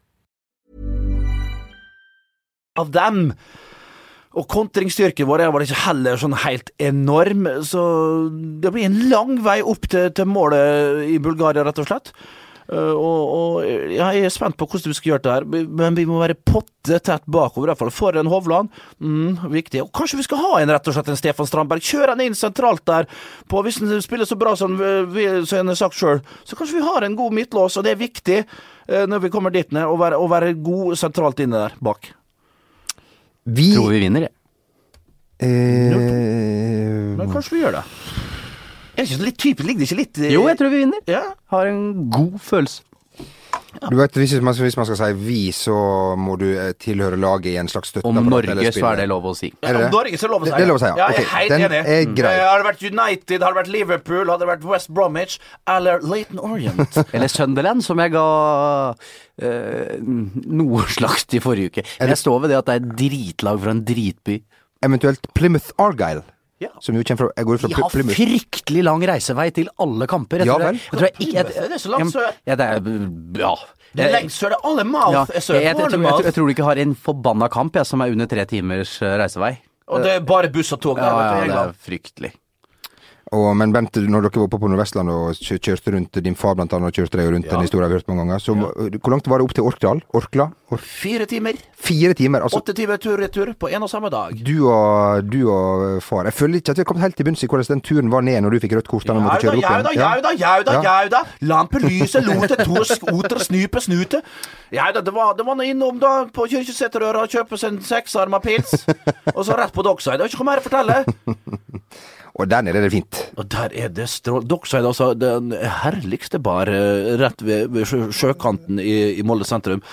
Speaker 3: av dem. Og kontringsstyrken vår er vel ikke heller sånn helt enorm, så det blir en lang vei opp til, til målet i Bulgaria, rett og slett. Eh, og og ja, jeg er spent på hvordan du skal gjøre det her, men- men vi må være potte tett bakover. I hvert fall for en Hovland. Mm, viktig. Og kanskje vi skal ha en rett og slett en Stefan Strandberg. Kjør han inn sentralt der. På, hvis han spiller så bra som eh, vi- vi- som han har sagt sjøl, så kanskje vi har en god midtlås, og det er viktig eh, når vi kommer dit ned, å være, å være god sentralt inne der bak.
Speaker 2: Vi,
Speaker 4: Tror vi vinner, jeg.
Speaker 2: eh,
Speaker 3: Men kanskje vi gjør det. Er det ikke litt typisk? Ligger det ikke litt i-
Speaker 4: Jo, jeg tror vi vinner.
Speaker 3: ja.
Speaker 4: Har en god følelse.
Speaker 2: Du vet, hvis man, hvis man skal si vi, så må du eh, tilhøre laget i en slags støtteapparat.
Speaker 4: Om Norge,
Speaker 2: eller
Speaker 4: så
Speaker 2: spille.
Speaker 4: er det lov å si.
Speaker 2: Er det
Speaker 3: Om
Speaker 2: det?
Speaker 3: Norge så er det lov å si
Speaker 2: Det- det er lov å si, ja.
Speaker 3: ja jeg
Speaker 2: Ok,
Speaker 3: er helt
Speaker 2: den
Speaker 3: enig.
Speaker 2: er grei.
Speaker 3: Eh, Hadde det vært United, hadde det vært Liverpool, hadde det vært West Bromwich eller Laton
Speaker 4: <laughs>
Speaker 3: Orient.
Speaker 4: Eller Sunderland, som jeg ga eh, noe slags til forrige uke. Men jeg står ved det at det er et dritlag fra en dritby.
Speaker 2: Eventuelt Plymouth Argyle.
Speaker 4: Ja.
Speaker 2: Som jo kommer fra Jeg går ut fra
Speaker 4: De
Speaker 2: Ply-
Speaker 4: har
Speaker 2: Plymouth.
Speaker 4: fryktelig lang reisevei til alle kamper.
Speaker 2: Ja
Speaker 4: tror
Speaker 2: vel.
Speaker 4: jeg, jeg, tror jeg, ikke- jeg,
Speaker 3: Det er så langt sør.
Speaker 4: Ja, det er, ja.
Speaker 3: Det er lengst sør. det er Alle mouth
Speaker 4: Ja,
Speaker 3: er
Speaker 4: jeg,
Speaker 3: sør.
Speaker 4: jeg, jeg, tror- jeg, tror-
Speaker 3: Bournemouth.
Speaker 4: jeg tror du ikke har en forbanna kamp jeg, som er under tre timers eh, reisevei.
Speaker 3: og det er bare buss og tog der.
Speaker 4: Ja, ja,
Speaker 3: vet du, i
Speaker 4: det er
Speaker 3: England.
Speaker 4: fryktlig.
Speaker 2: Og, men Bent, når dere var oppe på Nordvestlandet og kjø- kjørte rundt din far blant annet, kjørte deg rundt den historien jeg har hørt mange ganger, så hvor langt var det opp til Orkdal? Orkla? Or
Speaker 3: Fire timer.
Speaker 2: fire timer? Altså,
Speaker 3: Åtte timer tur-retur på en og samme dag.
Speaker 2: du og, du og eh, far Jeg føler ikke at vi har kommet helt til bunns i hvordan den turen var ned når du fikk rødt kort. da du måtte
Speaker 3: Jauda,
Speaker 2: kjøre opp
Speaker 3: jauda,
Speaker 2: igjen. Ja.
Speaker 3: jauda, jauda,
Speaker 2: Ja.
Speaker 3: jauda. Lampelyset, lote, torsk, oter, snupe, snute. Jauda, det var, det var noe innom da på Kirkeseterøra og kjøpe seg en seksarma pils, og så rett på Dockside. Det er ikke noe mer å fortelle.
Speaker 2: Og der nede er det fint.
Speaker 3: Og der er det strål... Dockside, altså. Den herligste bar eh, rett ved, ved sjø, sjøkanten i, i Molde sentrum.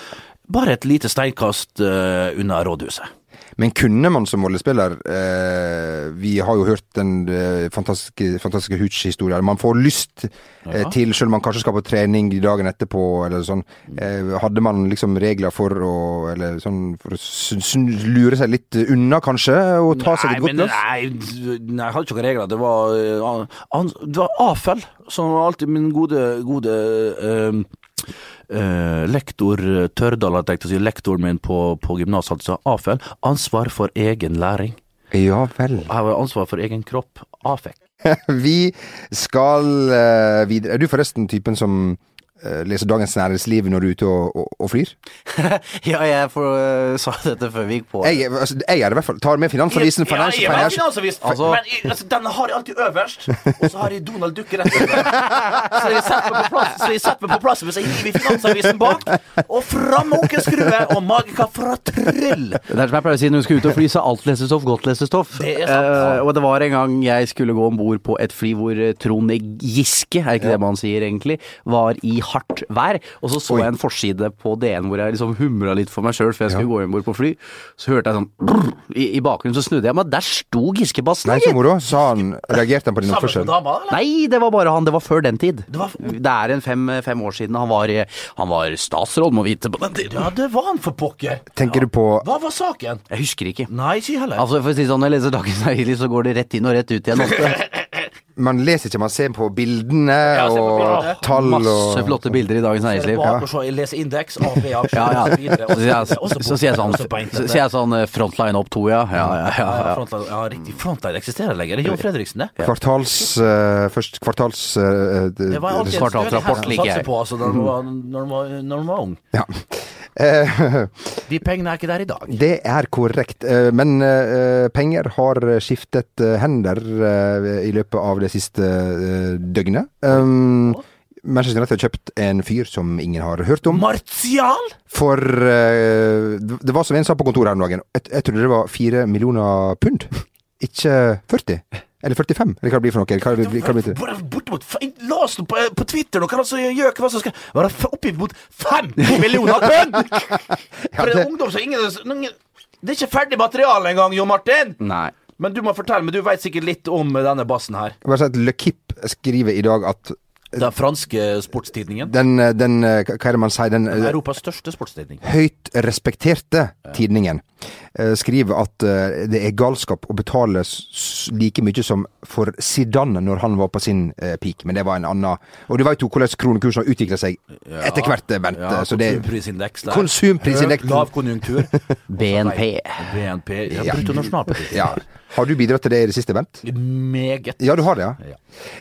Speaker 3: Bare et lite steinkast eh, unna rådhuset.
Speaker 2: Men kunne man som Molde-spiller eh, Vi har jo hørt den eh, fantastiske, fantastiske Hooch-historien. Man får lyst eh, til, selv om man kanskje skal på trening dagen etterpå, eller sånn.
Speaker 3: Mm.
Speaker 2: Eh, hadde man liksom regler for å eller sånn, for å sn- sn- lure seg litt unna, kanskje? Og ta seg et
Speaker 3: Nei,
Speaker 2: godt
Speaker 3: men,
Speaker 2: glass?
Speaker 3: nei, nei, jeg hadde ikke noen regler. Det var, eh, an- an, det var avfell, som var alltid min gode, gode eh, eh, lektor eh, Tørdal, hadde jeg tenkt å si, lektoren min på, på gymnaset, altså avfell. Ansvar for egen læring.
Speaker 2: Ja vel. <laughs>
Speaker 3: Jeg har ansvar for egen kropp. Afek.
Speaker 2: Vi skal eh, videre. Er du forresten typen som eh, leser Dagens Næringsliv når du er ute og, og, og flyr?
Speaker 4: Ja, jeg får, øh, sa dette før vi gikk på.
Speaker 2: Jeg, altså, jeg er det i hvert fall. Tar med Finansavisen.
Speaker 3: Ja,
Speaker 2: Financial
Speaker 3: jeg har
Speaker 2: Financial-
Speaker 3: finansavisen, men i- altså, den har jeg alltid øverst, og så har jeg Donald Duck rett over. Så jeg setter meg på plass, så jeg setter meg på plass mens jeg hiver Finansavisen bak, og fram med onkelskrue og magika fra Tryll.
Speaker 4: Det er som jeg pleier å si når du skal ut og fly, så er alt lesestoff godt lesestoff.
Speaker 3: Det er sant.
Speaker 4: Eh, og det var en gang jeg skulle gå om bord på et fly hvor eh, Trond Giske, er ikke det man sier egentlig, var i hardt vær. Og så så jeg en forside på DN hvor jeg liksom humra litt for meg sjøl før jeg skulle gå om bord på fly. Så hørte jeg sånn brrr, i, i bakgrunnen, så snudde jeg meg, der sto Giske-bassen!
Speaker 2: Nei,
Speaker 4: gitt.
Speaker 2: så moro. Sa han, reagerte han på din
Speaker 3: Sammen
Speaker 2: oppførsel?
Speaker 3: med dama, eller?
Speaker 4: Nei, det var bare han. Det var før den tid. Det,
Speaker 3: var-
Speaker 4: er en fem, fem år siden. Han var, eh, han var statsråd, må vite, på den tiden.
Speaker 3: Ja, det var han for pokker.
Speaker 2: Tenker du på
Speaker 3: Hva var saken?
Speaker 4: Jeg husker ikke.
Speaker 3: Nei, ikke heller.
Speaker 4: Altså, for å si det sånn, Når jeg leser Dagens Næringsliv, så går det rett inn og rett ut igjen. ofte.
Speaker 2: Man leser ikke, man ser på bildene
Speaker 3: ser på bildene.
Speaker 2: og tall og
Speaker 4: Masse flotte bilder i Dagens
Speaker 3: Så er det
Speaker 4: Næringsliv.
Speaker 3: bak og så jeg leser indeks, AB, aksjer,
Speaker 4: Ja, ja.
Speaker 3: og så videre,
Speaker 4: <laughs> Så
Speaker 3: og så
Speaker 4: sier jeg,
Speaker 3: videre, og
Speaker 4: så,
Speaker 3: på- og så
Speaker 4: så sier jeg sånn,
Speaker 3: på
Speaker 4: så
Speaker 3: internettet.
Speaker 4: sier jeg sånn eh, Frontline opp to, ja. Ja, ja, ja.
Speaker 3: Ja, <laughs>
Speaker 4: ja.
Speaker 3: frontline, ja, riktig. Frontline eksisterer lenger. Det er Jon Fredriksen, det.
Speaker 2: Kvartals eh, Først kvartals eh, d-
Speaker 3: Det var alltid en
Speaker 4: Kvartalsrapport
Speaker 3: større hest å
Speaker 4: liker jeg.
Speaker 3: satse På, altså, når, man var, når, man var, når man var ung.
Speaker 2: Ja. Eh, <laughs>
Speaker 3: De pengene er ikke der i dag.
Speaker 2: det er korrekt. Eh, men eh, penger har skiftet eh, hender eh, i løpet av det siste eh, døgnet. Um, Manchester United har kjøpt en fyr som ingen har hørt om.
Speaker 3: Martial?
Speaker 2: For eh, det det var som en sa på kontoret her om dagen, jeg, jeg trodde det var fire millioner pund. Ikke 40. Eller 45, eller hva det blir for noe. Eller hva det blir, hva det blir til.
Speaker 3: Hvor er- Bortimot fe- La oss nå på, eh, på Twitter nå, hva er det som gjør hva som skal Være f- oppgitt mot 50
Speaker 2: <laughs>
Speaker 3: millioner pund! For en
Speaker 2: det-
Speaker 3: ungdom som ingen, ingen Det er ikke ferdig materiale engang, Jo Martin!
Speaker 4: Nei.
Speaker 3: Men du må fortelle meg, du veit sikkert litt om eh, denne bassen her.
Speaker 2: Jeg Bare si at Le Kipp skriver i dag at
Speaker 3: Den franske sportstidningen.
Speaker 2: den, eh, den eh, Hva er det man sier? Den eh,
Speaker 3: Europas største sportstidning.
Speaker 2: høyt respekterte tidningen eh, skriver at eh, det er galskap å betale s- s- like mye som for Zidane når han var på sin eh, peak, men det var en annen Og du veit jo hvordan kronekursen har utvikla seg etter hvert, eh, Bent.
Speaker 3: Ja,
Speaker 2: eh, så det
Speaker 3: konsumprisindeks der.
Speaker 2: Konsumprisindeksen.
Speaker 3: Høy, Lav konjunktur.
Speaker 4: BNP.
Speaker 3: BNP. Ja,
Speaker 2: Ja.
Speaker 3: Bruttonasjonalprodukt.
Speaker 2: ja. Har du bidratt til det i det siste, Bent?
Speaker 3: Meget.
Speaker 2: Ja, du har det, ja?
Speaker 3: Ja.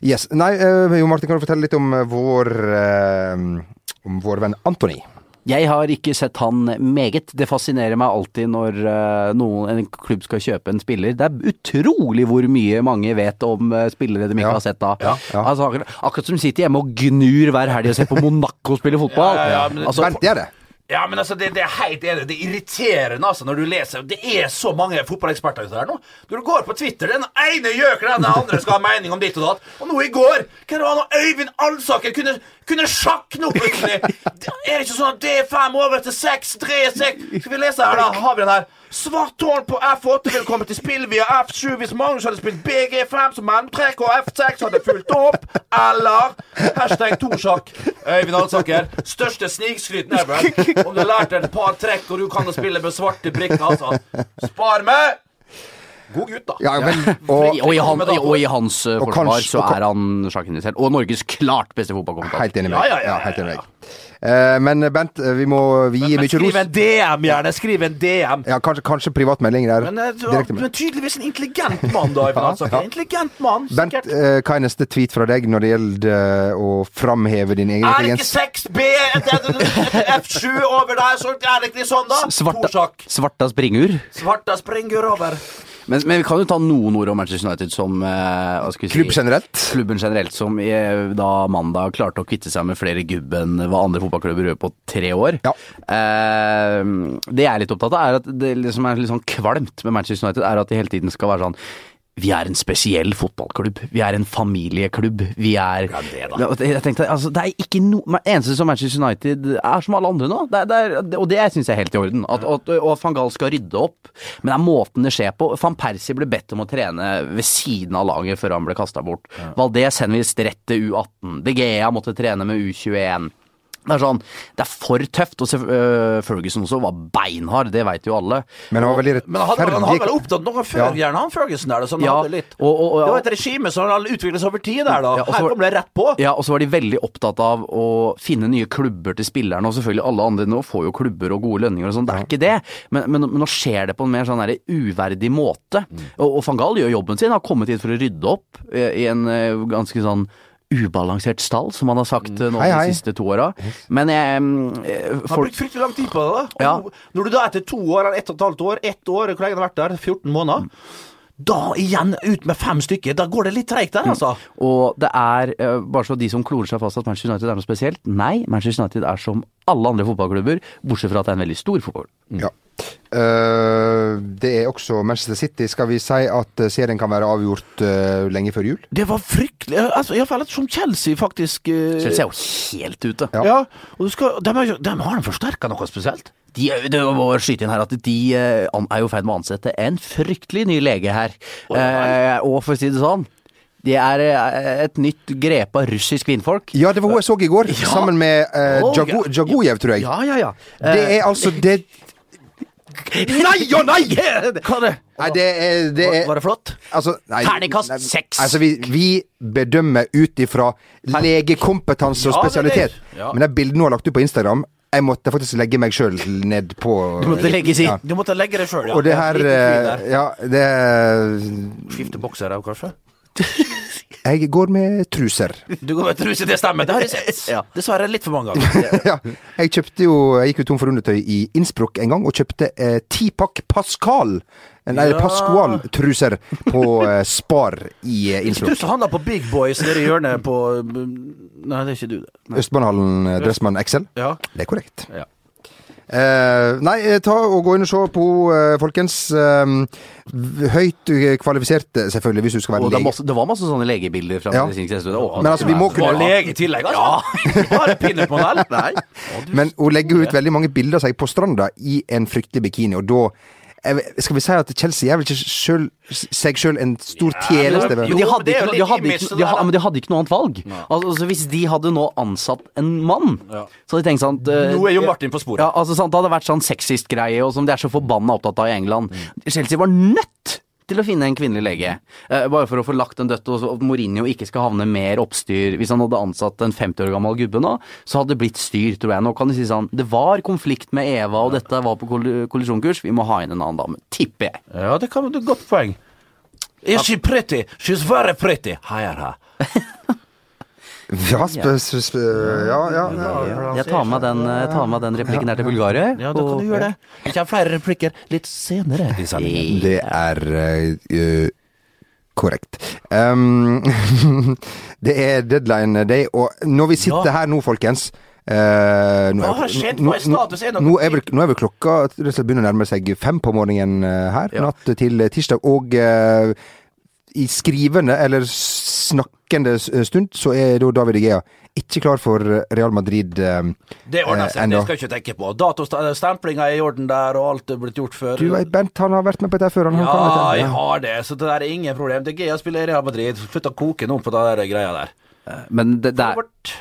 Speaker 2: Yes. Nei, eh, Jo Martin, kan du fortelle litt om eh, vår eh, om vår venn Antony.
Speaker 4: Jeg har ikke sett han meget. Det fascinerer meg alltid når eh, noen, en klubb skal kjøpe en spiller. Det er utrolig hvor mye mange vet om eh, spillere de ikke
Speaker 2: Ja.
Speaker 4: har sett da.
Speaker 2: ja.
Speaker 4: Altså, akkurat, akkurat som de sitter hjemme og gnur hver helg og ser på Monaco spille fotball.
Speaker 3: Ja, ja, ja, men-
Speaker 4: Altså,
Speaker 2: Bernt, det er det.
Speaker 3: Ja, men altså, det, det er helt enig. Det er irriterende altså, når du leser Det er så mange fotballeksperter ute her nå. Når du går på Twitter, den ene gjøker den andre skal ha mening om ditt og datt. Og nå i går Hva var det nå? Øyvind Alsaker kunne, kunne sjakne opp plutselig! Det- Er det ikke sånn at det er fem over til seks, tre, seks Skal vi lese her, da? Har vi den her? Svart tårn på F8 vil komme til spill via F7 hvis Magnus hadde spilt BG5 som mellomtrekk og F6 hadde fulgt opp, eller hashtag tosjakk. Øyvind Alsaker, største snikskryt never. Om du har lært deg et par trekk og du kan å spille med svarte brikker, altså. Spar meg! God gutt, da.
Speaker 2: Ja,
Speaker 3: <laughs>
Speaker 2: vel,
Speaker 4: og,
Speaker 2: og
Speaker 4: og, i han, og i hans eh,
Speaker 2: Og
Speaker 4: forsvar
Speaker 2: kanskje-
Speaker 4: så
Speaker 2: og kan-
Speaker 4: er han sjakkindisert. Og Norges klart beste fotballkommentator.
Speaker 2: Helt enig med deg.
Speaker 3: Ja, ja, ja,
Speaker 2: Ja, helt enig med
Speaker 3: ja,
Speaker 2: deg. Eh, Men Bent, vi må vi gir mye
Speaker 3: Skriv
Speaker 2: ros.
Speaker 3: en DM, gjerne. Skriv en DM.
Speaker 2: Ja, kanskje, kanskje privatmelding der.
Speaker 3: Men, eh, du,
Speaker 2: Direkte
Speaker 3: du
Speaker 2: med.
Speaker 3: er tydeligvis en intelligent mann, da, Øyvind Alsaker. Intelligent mann,
Speaker 2: Bent,
Speaker 3: sikkert.
Speaker 2: eh, hva er neste tweet fra deg når det gjelder eh, å framheve din egen
Speaker 3: Er det ikke
Speaker 2: intelligens?
Speaker 3: 6B, et- et- et- et F7 over der, så er det ikke sånn, da?
Speaker 4: Svarta,
Speaker 3: Torsjakk.
Speaker 4: svarta springur.
Speaker 3: Svarta springer over.
Speaker 4: Men, men vi kan jo ta noen ord om Manchester United som eh, hva skal vi si,
Speaker 2: Klubb generelt?
Speaker 4: klubben generelt, som eh, da mandag klarte å kvitte seg med flere gubb enn hva andre fotballklubber gjør på tre år.
Speaker 2: Ja.
Speaker 4: Eh, det jeg er litt opptatt av, er at det liksom er litt sånn kvalmt med Manchester United, er at de hele tiden skal være sånn vi er en spesiell fotballklubb. Vi er en familieklubb. Vi er ja, det, da. Jeg tenkte, altså, det er ikke noe men eneste som Manchester United er som alle andre nå. Det er, det er, og det syns jeg er helt i orden. At, at, og at van Gaal skal rydde opp. Men det er måten det skjer på. Van Persie ble bedt om å trene ved siden av laget før han ble kasta bort. Valdez henvist rett til U18. De Gea måtte trene med U21. Det er sånn, det er for tøft. Og så, øh, Ferguson også var beinhard, det veit jo alle.
Speaker 2: Men han var veldig
Speaker 3: Men han hadde, han hadde vel
Speaker 2: rettferdig.
Speaker 3: opptatt noe før, gjerne han Ferguson der. Sånn,
Speaker 4: Ja,
Speaker 3: hadde litt.
Speaker 4: og- og- og-
Speaker 3: det var et regime som han utviklet seg over tid der, da.
Speaker 4: Ja, og så
Speaker 3: Her
Speaker 4: var-
Speaker 3: kom det rett på.
Speaker 4: Ja, og så var de veldig opptatt av å finne nye klubber til spillerne, og selvfølgelig alle andre nå får jo klubber og gode lønninger og sånn, det er ikke det. Men, men, men nå skjer det på en mer sånn her uverdig måte. Og, og van Gaal gjør jobben sin, har kommet hit for å rydde opp eh, i en eh, ganske sånn ubalansert stall, som han har sagt eh, nå
Speaker 2: Hei, hei.
Speaker 4: de siste to åra. Men jeg mm, eh,
Speaker 3: Han
Speaker 4: folk-
Speaker 3: brukte fryktelig lang tid på det. da
Speaker 4: Ja.
Speaker 3: Og nå- Når du da etter to år, eller ett og et halvt år, ett år, hvor lenge har det vært der? 14
Speaker 4: Mm.
Speaker 3: måneder? Da igjen ut med fem stykker. Da går det litt treigt
Speaker 4: Mm.
Speaker 3: der, altså.
Speaker 4: Og det er eh, bare så de som klorer seg fast at Manchester United er noe spesielt. Nei, Manchester United er som alle andre fotballklubber, bortsett fra at det er en veldig stor fotballklubb.
Speaker 2: Mm. Ja. Eh, det er også Manchester City. Skal vi si at eh, serien kan være avgjort eh, lenge før jul?
Speaker 3: Det var fryktelig altså, Iallfall som Chelsea faktisk eh,
Speaker 4: Chelsea er jo helt ute.
Speaker 3: Ja. og du skal, de, er, jo- de har forsterka noe spesielt.
Speaker 4: De, er jo- det må jeg skyte inn her at de eh, an- er jo i ferd med å ansette en fryktelig ny lege her. Eh, og for å si det sånn, de er eh, et nytt grep av russisk kvinnfolk.
Speaker 2: Ja, det var hun jeg så i går, sammen med eh,
Speaker 4: Å,
Speaker 2: Jago
Speaker 4: ja.
Speaker 2: Jagojev, tror jeg.
Speaker 4: Ja, ja, ja.
Speaker 3: Eh,
Speaker 2: Det
Speaker 3: <laughs>
Speaker 2: er altså det
Speaker 4: Nei og nei! Hva er det?
Speaker 2: Nei, det er, det er
Speaker 3: Var det flott?
Speaker 2: Altså, nei,
Speaker 4: Terningkast
Speaker 2: nei,
Speaker 4: seks.
Speaker 2: Altså, vi, vi bedømmer ut ifra legekompetanse og
Speaker 3: Ja, det er det.
Speaker 2: spesialitet.
Speaker 3: Ja.
Speaker 2: Men de bildene hun har lagt ut på Instagram Jeg måtte faktisk legge meg sjøl ned på
Speaker 4: Du måtte legges i.
Speaker 2: Ja.
Speaker 3: Du måtte legge deg sjøl, ja.
Speaker 2: Og det her
Speaker 3: Liten
Speaker 2: eh,
Speaker 3: fyr der.
Speaker 2: Ja, det
Speaker 3: Skifte bokser òg, kanskje?
Speaker 2: Jeg går med truser.
Speaker 3: Du går med truse, det stemmer. Det har jeg sett.
Speaker 4: Ja.
Speaker 3: Dessverre litt for <laughs> mange ganger.
Speaker 2: <laughs> ja. Jeg kjøpte jo Jeg gikk jo tom for undertøy i Innsbruck en gang, og kjøpte eh, tipakk Pascal. Nei,
Speaker 3: Ja.
Speaker 2: Pascual-truser på eh, Spar i eh,
Speaker 3: Du <laughs>
Speaker 2: Innsbruck.
Speaker 3: som handla på Big Boys nede i hjørnet på mm, Nei, det er ikke du, det. Nei.
Speaker 2: Østbanehallen eh, Dressmann XL.
Speaker 3: Ja.
Speaker 2: Det er korrekt.
Speaker 3: Ja.
Speaker 2: Eh, nei, eh, ta og gå inn og se på henne, eh, folkens. Eh, v- høyt eh, kvalifiserte, selvfølgelig, hvis du skal være
Speaker 4: Og det, er
Speaker 2: lege.
Speaker 4: masse, det var masse sånne legebilder fra
Speaker 2: Ja.
Speaker 4: medisinsk tjeneste. Å,
Speaker 2: Men altså, vi må
Speaker 4: det er-
Speaker 2: kunne-
Speaker 3: Var lege i tillegg, altså? Ja. Bare pinnepmodell? <laughs> Nei.
Speaker 2: Men hun legger ut veldig mange bilder av seg på stranda i en fryktelig bikini, og da jeg vet- skal vi si at Chelsea er vel ikke selv, seg sjøl en stor tjeneste? vel?
Speaker 3: men-
Speaker 4: Men de
Speaker 3: Jo, men
Speaker 4: hadde,
Speaker 3: det er
Speaker 4: ikke,
Speaker 3: jo
Speaker 4: no- de
Speaker 3: litt
Speaker 4: hadde,
Speaker 3: image,
Speaker 4: ikke,
Speaker 3: det
Speaker 4: de
Speaker 3: der,
Speaker 4: ha,
Speaker 3: da.
Speaker 4: men de hadde ikke noe annet valg. Al- Altså, hvis de hadde nå ansatt en mann, så hadde de tenkt sånn at, eh,
Speaker 3: Nå er jo Martin på sporet.
Speaker 4: Ja, altså, sant, det hadde vært sånn sexist-greie, og som de er så forbanna opptatt av i England.
Speaker 3: Mm.
Speaker 4: Chelsea var nødt til å finne en kvinnelig lege, eh, bare for å få lagt en dødt, og så- og Mourinho ikke skal havne mer oppstyr. Hvis han hadde ansatt en 50 år gammel gubbe nå, så hadde det blitt styr, tror jeg. Nå kan de si sånn, det var konflikt med Eva, og dette var på koll- kollisjonskurs, vi må ha inn en annen dame. Tipper jeg.
Speaker 3: Ja, det kan du godt poeng. Is she pretty? She's very pretty. Hire her.
Speaker 2: Ja, sp sp sp ja, ja, ja.
Speaker 4: Jeg tar med den, jeg tar med den replikken her til Bulgaria.
Speaker 3: Ja, da kan
Speaker 4: og-
Speaker 3: du gjøre det. Vi kommer flere replikker litt senere i sendingen.
Speaker 2: Det er eh, eh, korrekt. Um, <laughs> det er deadline day, og når vi sitter
Speaker 3: Ja.
Speaker 2: her nå, folkens eh, nå,
Speaker 3: Hva
Speaker 2: er-
Speaker 3: har skjedd?
Speaker 2: nå-
Speaker 3: Hva er status? Er det
Speaker 2: nå-
Speaker 3: noe
Speaker 2: nå er vel, nå er vel klokka rett og slett begynner å nærme seg fem på morgenen eh, her, natt til tirsdag. Og eh, i skrivende eller snakkende s- stund så er da David Igea ikke klar for Real Madrid eh,
Speaker 3: Det ordner
Speaker 2: eh,
Speaker 3: seg, det
Speaker 2: ennå.
Speaker 3: skal jeg ikke tenke på. Datostemplinga er i orden der, og alt er blitt gjort før.
Speaker 2: Du vet, Bent, han har vært med på dette før. Han, han kan
Speaker 3: Ja,
Speaker 2: dette.
Speaker 3: jeg har det, så det der er ingen problem. Det er gøy å spille i Real Madrid. Slutt å koke nå på den der greia der.
Speaker 4: Men det, det er,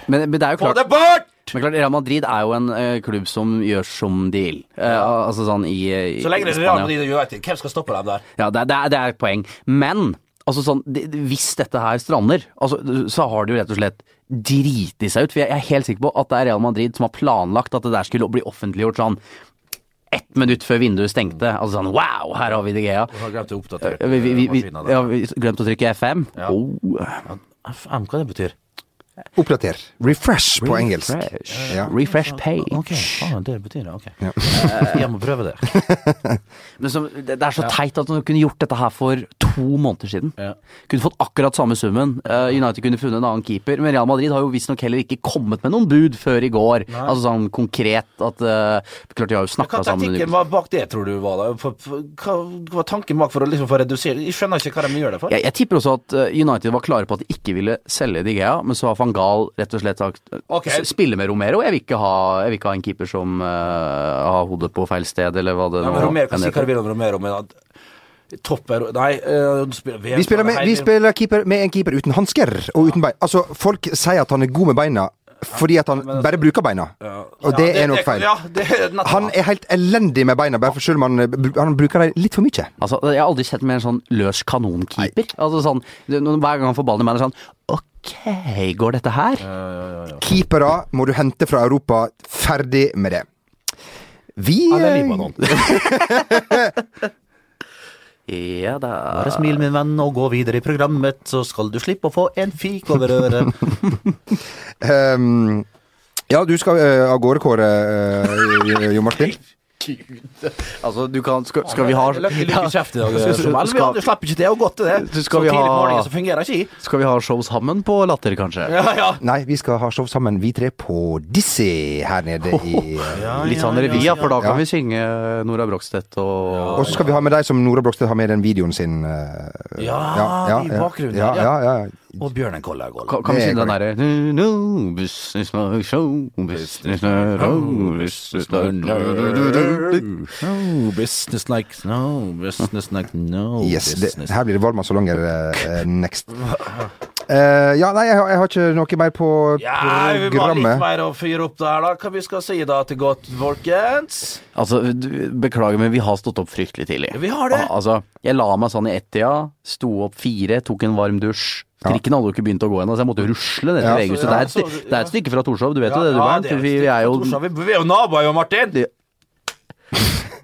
Speaker 4: men, men det er jo
Speaker 3: Få
Speaker 4: klart
Speaker 3: det bort!
Speaker 4: Men klart, Real Madrid er jo en eh, klubb som gjør som de vil. Eh, al- altså sånn i, i
Speaker 3: Så lenge det
Speaker 4: i
Speaker 3: er Real
Speaker 4: Spania.
Speaker 3: Madrid og United, hvem skal stoppe dem der?
Speaker 4: Ja, det, er- det, er- det er et poeng. Men altså sånn, det, hvis dette her strander, altså, så har de jo rett og slett driti seg ut. For jeg, jeg er helt sikker på at det er Real Madrid som har planlagt at det der skulle bli offentliggjort sånn ett minutt før vinduet stengte. Altså sånn wow, her har vi De Gea.
Speaker 3: Jeg har glemt å oppdatere
Speaker 4: Vi, vi, vi,
Speaker 3: maskinen der.
Speaker 4: ja, vi glemte å trykke F5. Oh,
Speaker 3: FM, hva det betyr?
Speaker 2: Oppdater. Refresh på engelsk.
Speaker 4: refresh.
Speaker 2: Ja.
Speaker 4: refresh page.
Speaker 3: Ok, ah, det betyr det, ok. Eh, Jeg må prøve det.
Speaker 2: <laughs>
Speaker 4: Men som, det, det er så teit at man kunne gjort dette her for to måneder siden. Kunne fått akkurat samme summen. Eh, United kunne funnet en annen keeper. Men Real Madrid har jo visstnok heller ikke kommet med noen bud før i går. Altså sånn konkret at eh, Klart de har jo
Speaker 3: Hva
Speaker 4: snakka sammen
Speaker 3: taktikken var bak det, tror du, var da? For, for, hva hva var tanken bak for å liksom få redusere Jeg skjønner ikke hva de gjør det for.
Speaker 4: jeg, jeg tipper også at eh, United var klare på at de ikke ville selge De Gea, men så har van Gaal rett og slett sagt eh,
Speaker 3: Ok.
Speaker 4: s- spille med Romero. Jeg vil ikke ha, jeg vil ikke ha en keeper som eh, har hodet på feil sted, eller hva det
Speaker 3: Nei, men Romero kan
Speaker 4: enn
Speaker 3: si hva
Speaker 4: heter.
Speaker 3: de vil om Romero, men at Topper Nei, eh, du spiller VM
Speaker 2: Vi spiller, med, vi spiller keeper med en keeper uten hansker og uten bein. Altså, folk sier at han er god med beina fordi at han bare bruker beina. Og det er nok feil.
Speaker 3: Ja, det er nettopp.
Speaker 2: Han er helt elendig med beina, bare for selv om han, eh, br- han bruker dem litt for mye.
Speaker 4: Altså, jeg har aldri sett med en sånn løs kanonkeeper. Altså sånn, det- når- Hver gang han får ballen i meg, er det sånn Ok, går dette her?
Speaker 2: Keepere må du hente fra Europa. Ferdig med det. Vi eh,
Speaker 3: Eller Libanon.
Speaker 4: Ja da.
Speaker 3: Bare smil, min venn, og gå videre i programmet, så skal du slippe å få en fik over øret.
Speaker 2: ehm, Ja, du skal eh, av gårde, Kåre eh, Jo Martin.
Speaker 4: Altså, du kan Skal, skal vi ha
Speaker 3: Løkke lykke i
Speaker 4: Ja.
Speaker 3: kjeft i dag,
Speaker 4: Skal- skal-
Speaker 3: Som
Speaker 4: skal-
Speaker 3: Du slipper ikke det, og godt til det.
Speaker 4: Så skal
Speaker 3: så
Speaker 4: vi
Speaker 3: tidlig på
Speaker 4: ha-
Speaker 3: morgenen så fungerer ikke i.
Speaker 4: Skal vi ha show sammen på Latter, kanskje?
Speaker 3: Ja, ja.
Speaker 2: Nei, vi skal ha show sammen, vi tre, på Dizzie her nede i eh,
Speaker 4: Litt sånn revy, ja, for da
Speaker 2: Ja.
Speaker 4: kan vi synge Nora Brogstedt og
Speaker 2: Og så skal vi ha med deg som Nora Brogstad har med den videoen sin. eh,
Speaker 3: Ja, i bakgrunnen,
Speaker 2: Ja, ja, ja, ja.
Speaker 3: Og Bjørnen Kollergold.
Speaker 4: Ka- Kan vi
Speaker 2: Det
Speaker 4: synge den
Speaker 2: kan
Speaker 4: derre No, no, business no show, business no row, business no row.
Speaker 3: No business like no business like no
Speaker 2: Yes, det, her blir det Valmann Solanger eh, eh,
Speaker 3: <laughs>
Speaker 2: next. Eh, ja, nei, jeg, har- jeg har ikke noe mer på
Speaker 3: Ja, vi må ha litt
Speaker 2: programmet.
Speaker 3: mer å fyre opp der, da. Hva vi skal si da til godt, folkens?
Speaker 4: Altså, du- beklager, men vi har stått opp fryktelig tidlig.
Speaker 3: Vi har det.
Speaker 4: Al- Altså, jeg la meg sånn i ett-tida, sto opp fire, tok en varm dusj. Trikken hadde jo ikke begynt å gå ennå, så jeg måtte jo rusle ned til
Speaker 2: Ja.
Speaker 4: VG-huset.
Speaker 3: Ja,
Speaker 4: det, er et
Speaker 3: så-
Speaker 4: sti- det er et stykke fra Torshov, du vet jo
Speaker 3: Ja,
Speaker 4: det, du
Speaker 3: ja,
Speaker 4: Bernt.
Speaker 3: det er
Speaker 4: vi,
Speaker 3: et
Speaker 4: vi er jo
Speaker 3: stykke fra Torshov. Vi, vi er jo naboer, jo, Martin.
Speaker 4: Det-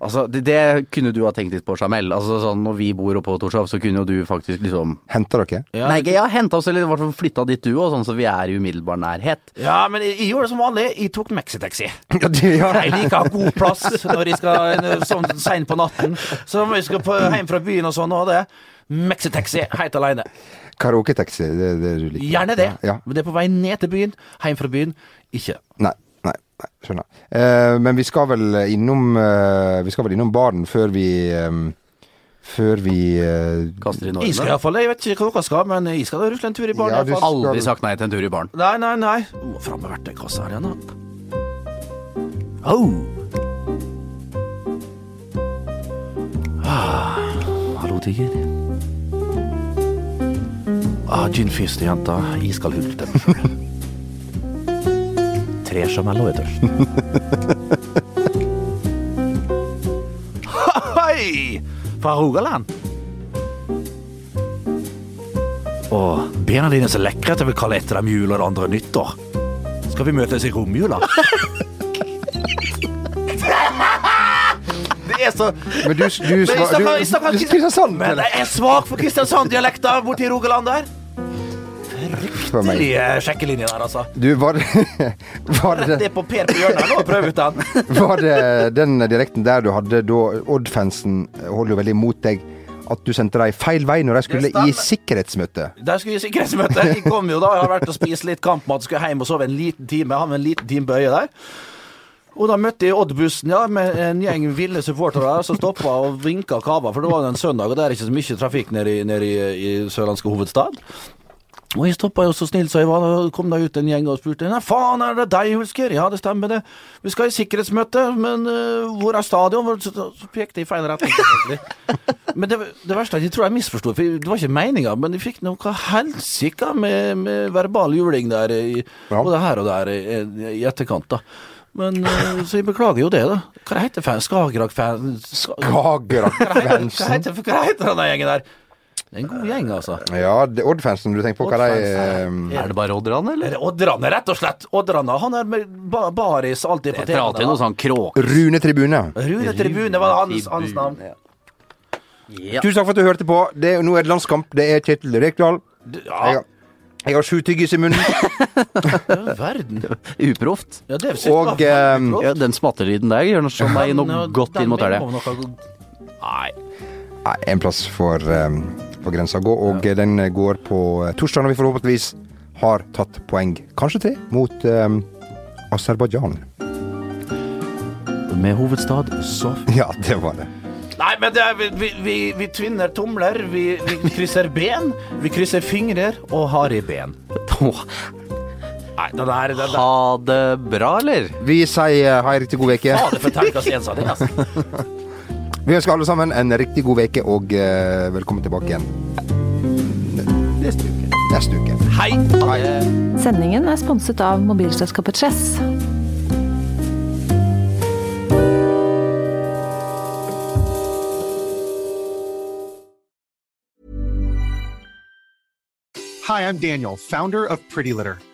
Speaker 4: Altså, det, det kunne du ha tenkt litt på, Jamel. Altså, sånn, når vi bor oppe på Torshov, så kunne jo du faktisk liksom
Speaker 2: Henter dere?
Speaker 4: Nei, ikke- jeg har henta oss, eller i hvert fall flytta dit du òg, sånn så vi er i umiddelbar nærhet.
Speaker 3: Ja, men jeg, jeg gjorde det som vanlig. Jeg tok
Speaker 4: <laughs>
Speaker 3: Mexitaxi.
Speaker 2: Ja, det- ja.
Speaker 3: Jeg liker å ha god plass når jeg skal sånn seint på natten. Så om jeg skal på, hjem fra byen og sånn og det. Mexitaxi helt aleine.
Speaker 2: Karaoketaxi, det er det du liker?
Speaker 3: Gjerne det.
Speaker 2: Ja, ja.
Speaker 3: Men det er på vei ned til byen. Hjem fra byen, ikke.
Speaker 2: Nei, nei, nei, skjønner. Eh, men vi skal vel innom eh, Vi skal vel innom baren før vi eh, Før vi eh,
Speaker 4: Kaster i
Speaker 3: Jeg skal
Speaker 4: Norge.
Speaker 3: iallfall Jeg vet ikke hva dere skal, men jeg skal da rusle en tur i baren.
Speaker 2: Ja,
Speaker 3: i hvert
Speaker 2: du
Speaker 3: fall.
Speaker 4: Aldri sagt nei til en tur i baren.
Speaker 3: Nei, nei, nei. Må Fram med verktøykassa her igjen, da. Au! Ah, hallo, tiger. Ah, Ginfis til jenta. Jeg skal hulte meg sjøl. <laughs> Tre sjamello er tørst. <laughs> Hei! Fra Rogaland. Og bena dine er så lekre at jeg vil kalle etter dem jul og det andre nyttår. Skal vi møtes i <laughs> romjula? det er så
Speaker 2: Men du, du,
Speaker 3: Men jeg
Speaker 2: sva-
Speaker 3: snakker-
Speaker 2: du,
Speaker 3: jeg snakker
Speaker 2: du
Speaker 3: Kristian-
Speaker 2: Kristiansand,
Speaker 3: Men
Speaker 2: eller?
Speaker 3: jeg er svak for Kristiansand-dialekta borti Rogaland der.
Speaker 2: for meg.
Speaker 3: Riktig sjekkelinje der, altså.
Speaker 2: Du, var, <laughs> var
Speaker 3: Rett
Speaker 2: det
Speaker 3: ned på Per på hjørnet nå og prøv ut den.
Speaker 2: Var det den direkten der du hadde da Odd-fansen holder jo veldig mot deg, at du sendte dem feil vei når de skulle
Speaker 3: Det stemmer.
Speaker 2: i sikkerhetsmøte?
Speaker 3: Der skulle vi i sikkerhetsmøte. Jeg kom jo da, jeg har vært og spist litt kampmat, skulle hjem og sove en liten time. Jeg har med en liten time på øyet der. Og da møtte jeg Odd-bussen ja, med en gjeng ville supportere der, som stoppa og vinka og kava, for det var jo en søndag, og det er ikke så mye trafikk nede i, nede i, i sørlandske hovedstad. Og jeg stoppa jo så snill som jeg var, og kom da ut en gjeng og spurte Nei, faen, er det deg, Hulsker? Ja, det stemmer, det. Vi skal i sikkerhetsmøte, men eh, hvor er stadion? Hvor- Så så pekte jeg i feil retning.
Speaker 2: <laughs>
Speaker 3: selvfølgelig. Men det, det verste er at jeg tror jeg misforsto, for det var ikke meninga, men jeg fikk noe helsika med, med verbal juling der, i,
Speaker 2: Ja.
Speaker 3: både her og der, i, i etterkant, da. Men, eh, så jeg beklager jo det, da. Hva heter fan? Skagerrak-fan? Ska- Hva
Speaker 2: Kagerak-fansen.
Speaker 3: heter, hva heter den der gjengen der? Det er en god gjeng, altså.
Speaker 2: Ja, det- Odd-fansen. Du tenker på hva de
Speaker 3: Odd-fansen.
Speaker 2: eh,
Speaker 4: Er det bare Oddran, eller?
Speaker 3: Er det Oddrande, rett og slett? Oddrande, han er med ba baris alltid på
Speaker 4: Jeg tror alltid noe sånn kråk...
Speaker 2: Rune Tribune.
Speaker 3: Rune Tribune var hans, hans navn.
Speaker 4: Ja.
Speaker 2: Tusen takk for at du hørte på. Det er, nå er det landskamp. Det er Kjetil Rekdal. Jeg, har- jeg har sju tyggis i munnen,
Speaker 3: Ja, Verden.
Speaker 4: Uproft.
Speaker 3: Ja, det er Ah, sikkert
Speaker 2: og
Speaker 3: bra.
Speaker 2: eh,
Speaker 4: Ja, den smattelyden der gjør noe, som meg noe
Speaker 3: Den-
Speaker 4: godt
Speaker 3: den
Speaker 4: inn mot
Speaker 3: minner
Speaker 4: helga.
Speaker 3: om noe-
Speaker 2: Nei,
Speaker 4: Nei.
Speaker 2: Ah, en plass for, um, for grensa å gå, og den går på eh, torsdag når vi forhåpentligvis har tatt poeng, kanskje tre, mot um, Aserbajdsjan. <laughs>
Speaker 4: Med hovedstad Sof.
Speaker 2: Ja, det var det.
Speaker 3: Nei, men det er, vi, vi, vi, vi tvinner tomler, vi, vi krysser ben, vi krysser fingrer og har i ben. Nei, den der, den der.
Speaker 4: Ha det bra, eller?
Speaker 2: Vi sier eh, ha en riktig god uke.
Speaker 3: Ha det for tenkast ensating, altså.
Speaker 2: Vi ønsker alle sammen en riktig god uke, og eh, velkommen tilbake igjen
Speaker 3: Neste uke.
Speaker 2: neste uke.
Speaker 3: Hei!
Speaker 1: Sendingen er sponset av mobilselskapet Chess.
Speaker 8: Hi, I'm Daniel, founder of Pretty Litter.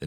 Speaker 9: the